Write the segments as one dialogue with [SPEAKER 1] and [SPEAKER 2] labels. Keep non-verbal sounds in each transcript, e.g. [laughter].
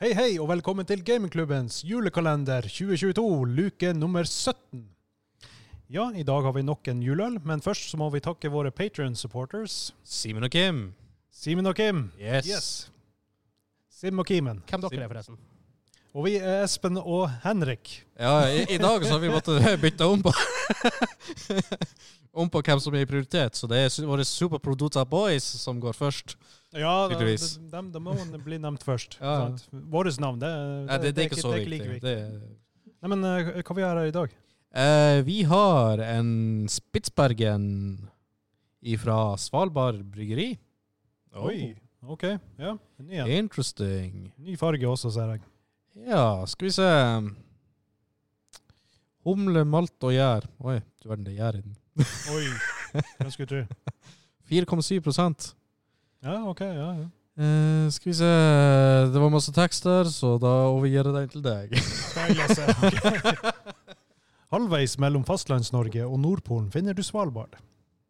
[SPEAKER 1] Hei, hei, og velkommen til Gamingklubbens julekalender 2022, luke nummer 17. Ja, i dag har vi nok en juleøl, men først så må vi takke våre Patrion-supporters.
[SPEAKER 2] Simen og Kim.
[SPEAKER 1] Simen og Kim.
[SPEAKER 2] Yes.
[SPEAKER 1] Sim og Kimen.
[SPEAKER 3] Hvem dere
[SPEAKER 2] Sim-
[SPEAKER 3] er, forresten?
[SPEAKER 1] Og vi er Espen og Henrik.
[SPEAKER 2] Ja, i, i dag så har vi måttet [laughs] bytte om på om på hvem som er i prioritet, så det er su- våre Superprodota Boys som går først.
[SPEAKER 1] Ja, da-
[SPEAKER 2] Tydeligvis.
[SPEAKER 1] de, de, de må bli nevnt først.
[SPEAKER 2] Ja, ja.
[SPEAKER 1] sant? Våres navn, det,
[SPEAKER 2] Nei, det, det er ikke så
[SPEAKER 1] det er
[SPEAKER 2] viktig.
[SPEAKER 1] like
[SPEAKER 2] Det er,
[SPEAKER 1] Nei, men eh, hva vi har her i dag?
[SPEAKER 2] Eh, vi har en Spitsbergen fra Svalbard bryggeri. Oh,
[SPEAKER 1] Oi, ok. Ja, en ny en.
[SPEAKER 2] Interesting.
[SPEAKER 1] Ny farge også, ser jeg.
[SPEAKER 2] Ja, skal vi se Humle, malt og gjær. Oi, du verden, det er gjær i den.
[SPEAKER 1] Oi, hvem skulle tro.
[SPEAKER 2] 4,7 prosent.
[SPEAKER 1] Ja, ok, ja, ja.
[SPEAKER 2] Eh, skal vi se Det var masse tekster, så da overgir jeg den til [laughs] deg.
[SPEAKER 1] Skal jeg lese? Halvveis mellom Fastlands-Norge og Nordpolen finner du Svalbard.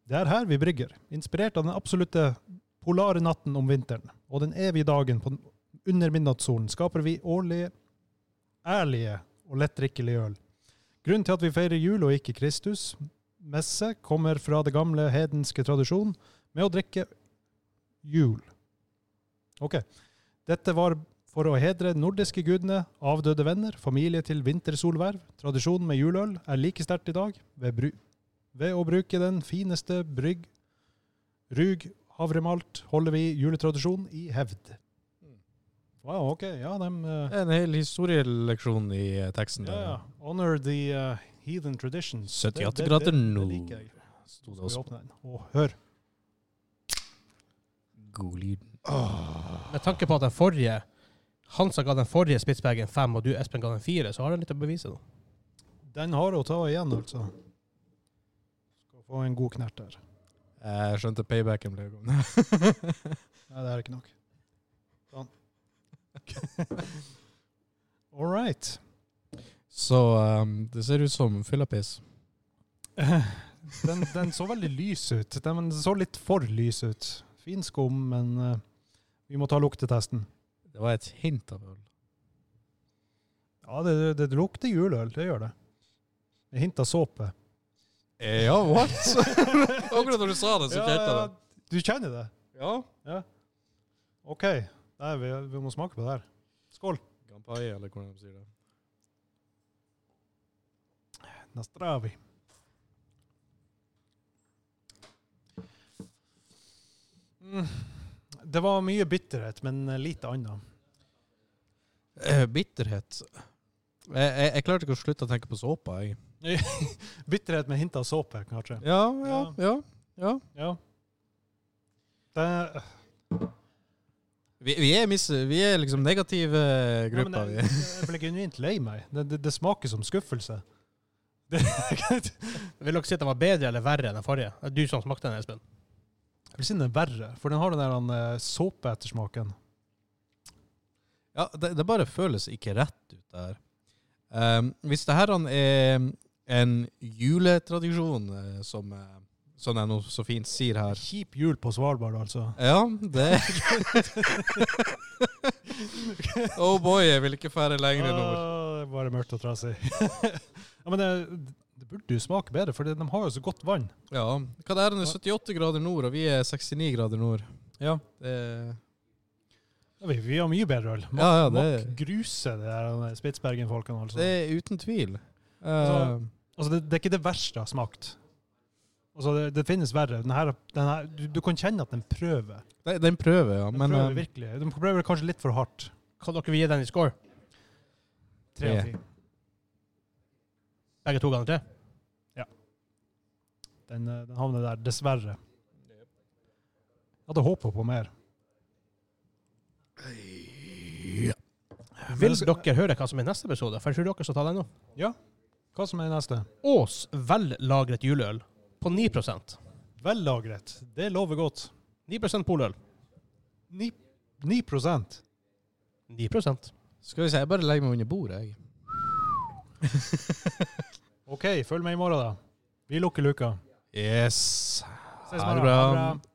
[SPEAKER 1] Det er her vi brygger, inspirert av den absolutte polare natten om vinteren og den evige dagen på, under midnattssolen, skaper vi årlige, ærlige og lettdrikkelige øl. Grunnen til at vi feirer jul og ikke Kristus messe, kommer fra det gamle hedenske tradisjonen med å drikke jul. Ok. Dette var for å hedre nordiske gudene, avdøde venner, familie til vintersolverv. Tradisjonen med juleøl er like sterkt i dag ved, bru ved å bruke den fineste brygg, rug, havremalt, holder vi juletradisjonen i hevd. Wow, ok. Ja, dem eh,
[SPEAKER 2] Det er en hel historieleksjon i eh, teksten.
[SPEAKER 1] ja, ja.
[SPEAKER 2] der.
[SPEAKER 1] Honor the eh, heathen traditions.
[SPEAKER 2] 78 grader
[SPEAKER 1] Det
[SPEAKER 2] nord,
[SPEAKER 1] liker jeg.
[SPEAKER 2] sto
[SPEAKER 1] Skal
[SPEAKER 2] det
[SPEAKER 1] vi
[SPEAKER 2] også.
[SPEAKER 1] åpne den? Å, hør.
[SPEAKER 2] Godlyden.
[SPEAKER 3] Med tanke på at den forrige Hansa ga den forrige Spitsbergen fem, og du Espen ga den fire, så har han litt å bevise nå.
[SPEAKER 1] Den har å ta igjen, altså. Skal få en god knert
[SPEAKER 2] [laughs]
[SPEAKER 1] der.
[SPEAKER 2] Jeg skjønte paybacken ble gående.
[SPEAKER 1] Nei, det er ikke nok. Sånn. [laughs] All right.
[SPEAKER 2] [laughs] Så ehm, det ser ut som fyllapiss.
[SPEAKER 1] Den, den så veldig lys ut. Den så litt for lys ut. Fin skum, men eh, vi må ta luktetesten.
[SPEAKER 2] Det var et hint av øl.
[SPEAKER 1] Ja, det, det, det lukter juleøl. Det gjør det. Det hinter såpe.
[SPEAKER 2] Eh, Ja, what?
[SPEAKER 1] [laughs]
[SPEAKER 2] [laughs] Akkurat da du sa det, så
[SPEAKER 1] Ja,
[SPEAKER 2] kjente jeg det.
[SPEAKER 1] ja, du kjenner det?
[SPEAKER 2] Ja.
[SPEAKER 1] OK. Nei, vi, vi må smake på det her. Skål.
[SPEAKER 2] Gampai, eller hvordan de sier det.
[SPEAKER 1] Nastravi. Mm. Det var mye bitterhet, men lite annet.
[SPEAKER 2] Eh, bitterhet. Jeg, jeg, jeg klarte ikke å slutte å tenke på såpa, jeg.
[SPEAKER 1] Bitterhet med hint av såpe, kanskje.
[SPEAKER 2] Ja, ja,
[SPEAKER 1] Ja.
[SPEAKER 2] ja. ja.
[SPEAKER 1] Ja. Det, ja,
[SPEAKER 2] Vi, vi, er mis, vi er liksom negative
[SPEAKER 1] men
[SPEAKER 2] eh, grupper,
[SPEAKER 1] jeg,
[SPEAKER 2] vi.
[SPEAKER 1] jeg ble genuint lei meg. Det, det, det smaker som skuffelse. Det, jeg
[SPEAKER 3] Vil dere si at den var bedre eller verre enn den forrige? Det er du som smakte den, Espen.
[SPEAKER 1] vil si den er verre, for den har den der eh, såpeettersmaken.
[SPEAKER 2] Ja, det, det bare føles ikke rett ut der. Ehm, hvis det her han er en juletradisjon, eh, som, eh, som jeg nå så fint sier her
[SPEAKER 1] Kjip jul på Svalbard, altså.
[SPEAKER 2] Ja, det [laughs] Oh boy, jeg vil ikke fære lenger nordover.
[SPEAKER 1] Åh, det er bare mørkt og trasig. [laughs] ja, men det, det burde jo smake bedre, for de har jo så godt vann.
[SPEAKER 2] Ja, hva det er, den er 78 grader nord, og vi er 69 grader nord.
[SPEAKER 1] Ja.
[SPEAKER 2] Det er
[SPEAKER 1] Ja, Vi, vi har mye bedre øl. Mak,
[SPEAKER 2] Ja, ja,
[SPEAKER 1] mak
[SPEAKER 2] det-
[SPEAKER 1] gruse det der Spitsbergen-folkene. Altså.
[SPEAKER 2] Det er uten tvil. Eh,
[SPEAKER 1] Altså- Altså, det, det er ikke det verste jeg har smakt. Altså, det, det finnes verre. Den her, den her, du, du kan kjenne at den prøver.
[SPEAKER 2] det, det er en prøve, ja.
[SPEAKER 1] Den
[SPEAKER 2] Men
[SPEAKER 1] prøver
[SPEAKER 2] eh,
[SPEAKER 1] virkelig. Den prøver kanskje litt for hardt.
[SPEAKER 3] Kan dere gi den i score?
[SPEAKER 1] Tre av
[SPEAKER 2] Tre.
[SPEAKER 1] ti.
[SPEAKER 3] Begge to ganger tre?
[SPEAKER 1] Den, eh, den havner der, dessverre. Jeg hadde håpa på mer.
[SPEAKER 3] Vil dere høre hva som er neste episode? For jeg tror dere skal ta den nå.
[SPEAKER 1] Hva som er neste?
[SPEAKER 3] Ås vellagret juleøl på 9 9
[SPEAKER 1] Vellagret. Det lover godt.
[SPEAKER 3] 9 poløl.
[SPEAKER 1] 9, 9 Nei,
[SPEAKER 3] 9 Hva
[SPEAKER 2] skal vi se, jeg bare legger meg under bordet, jeg.
[SPEAKER 1] OK, følg med i morgen, da. Vi lukker luka.
[SPEAKER 2] Yes.
[SPEAKER 1] Ses i
[SPEAKER 2] Ha det
[SPEAKER 1] morgen.
[SPEAKER 2] bra.
[SPEAKER 1] Ha det bra.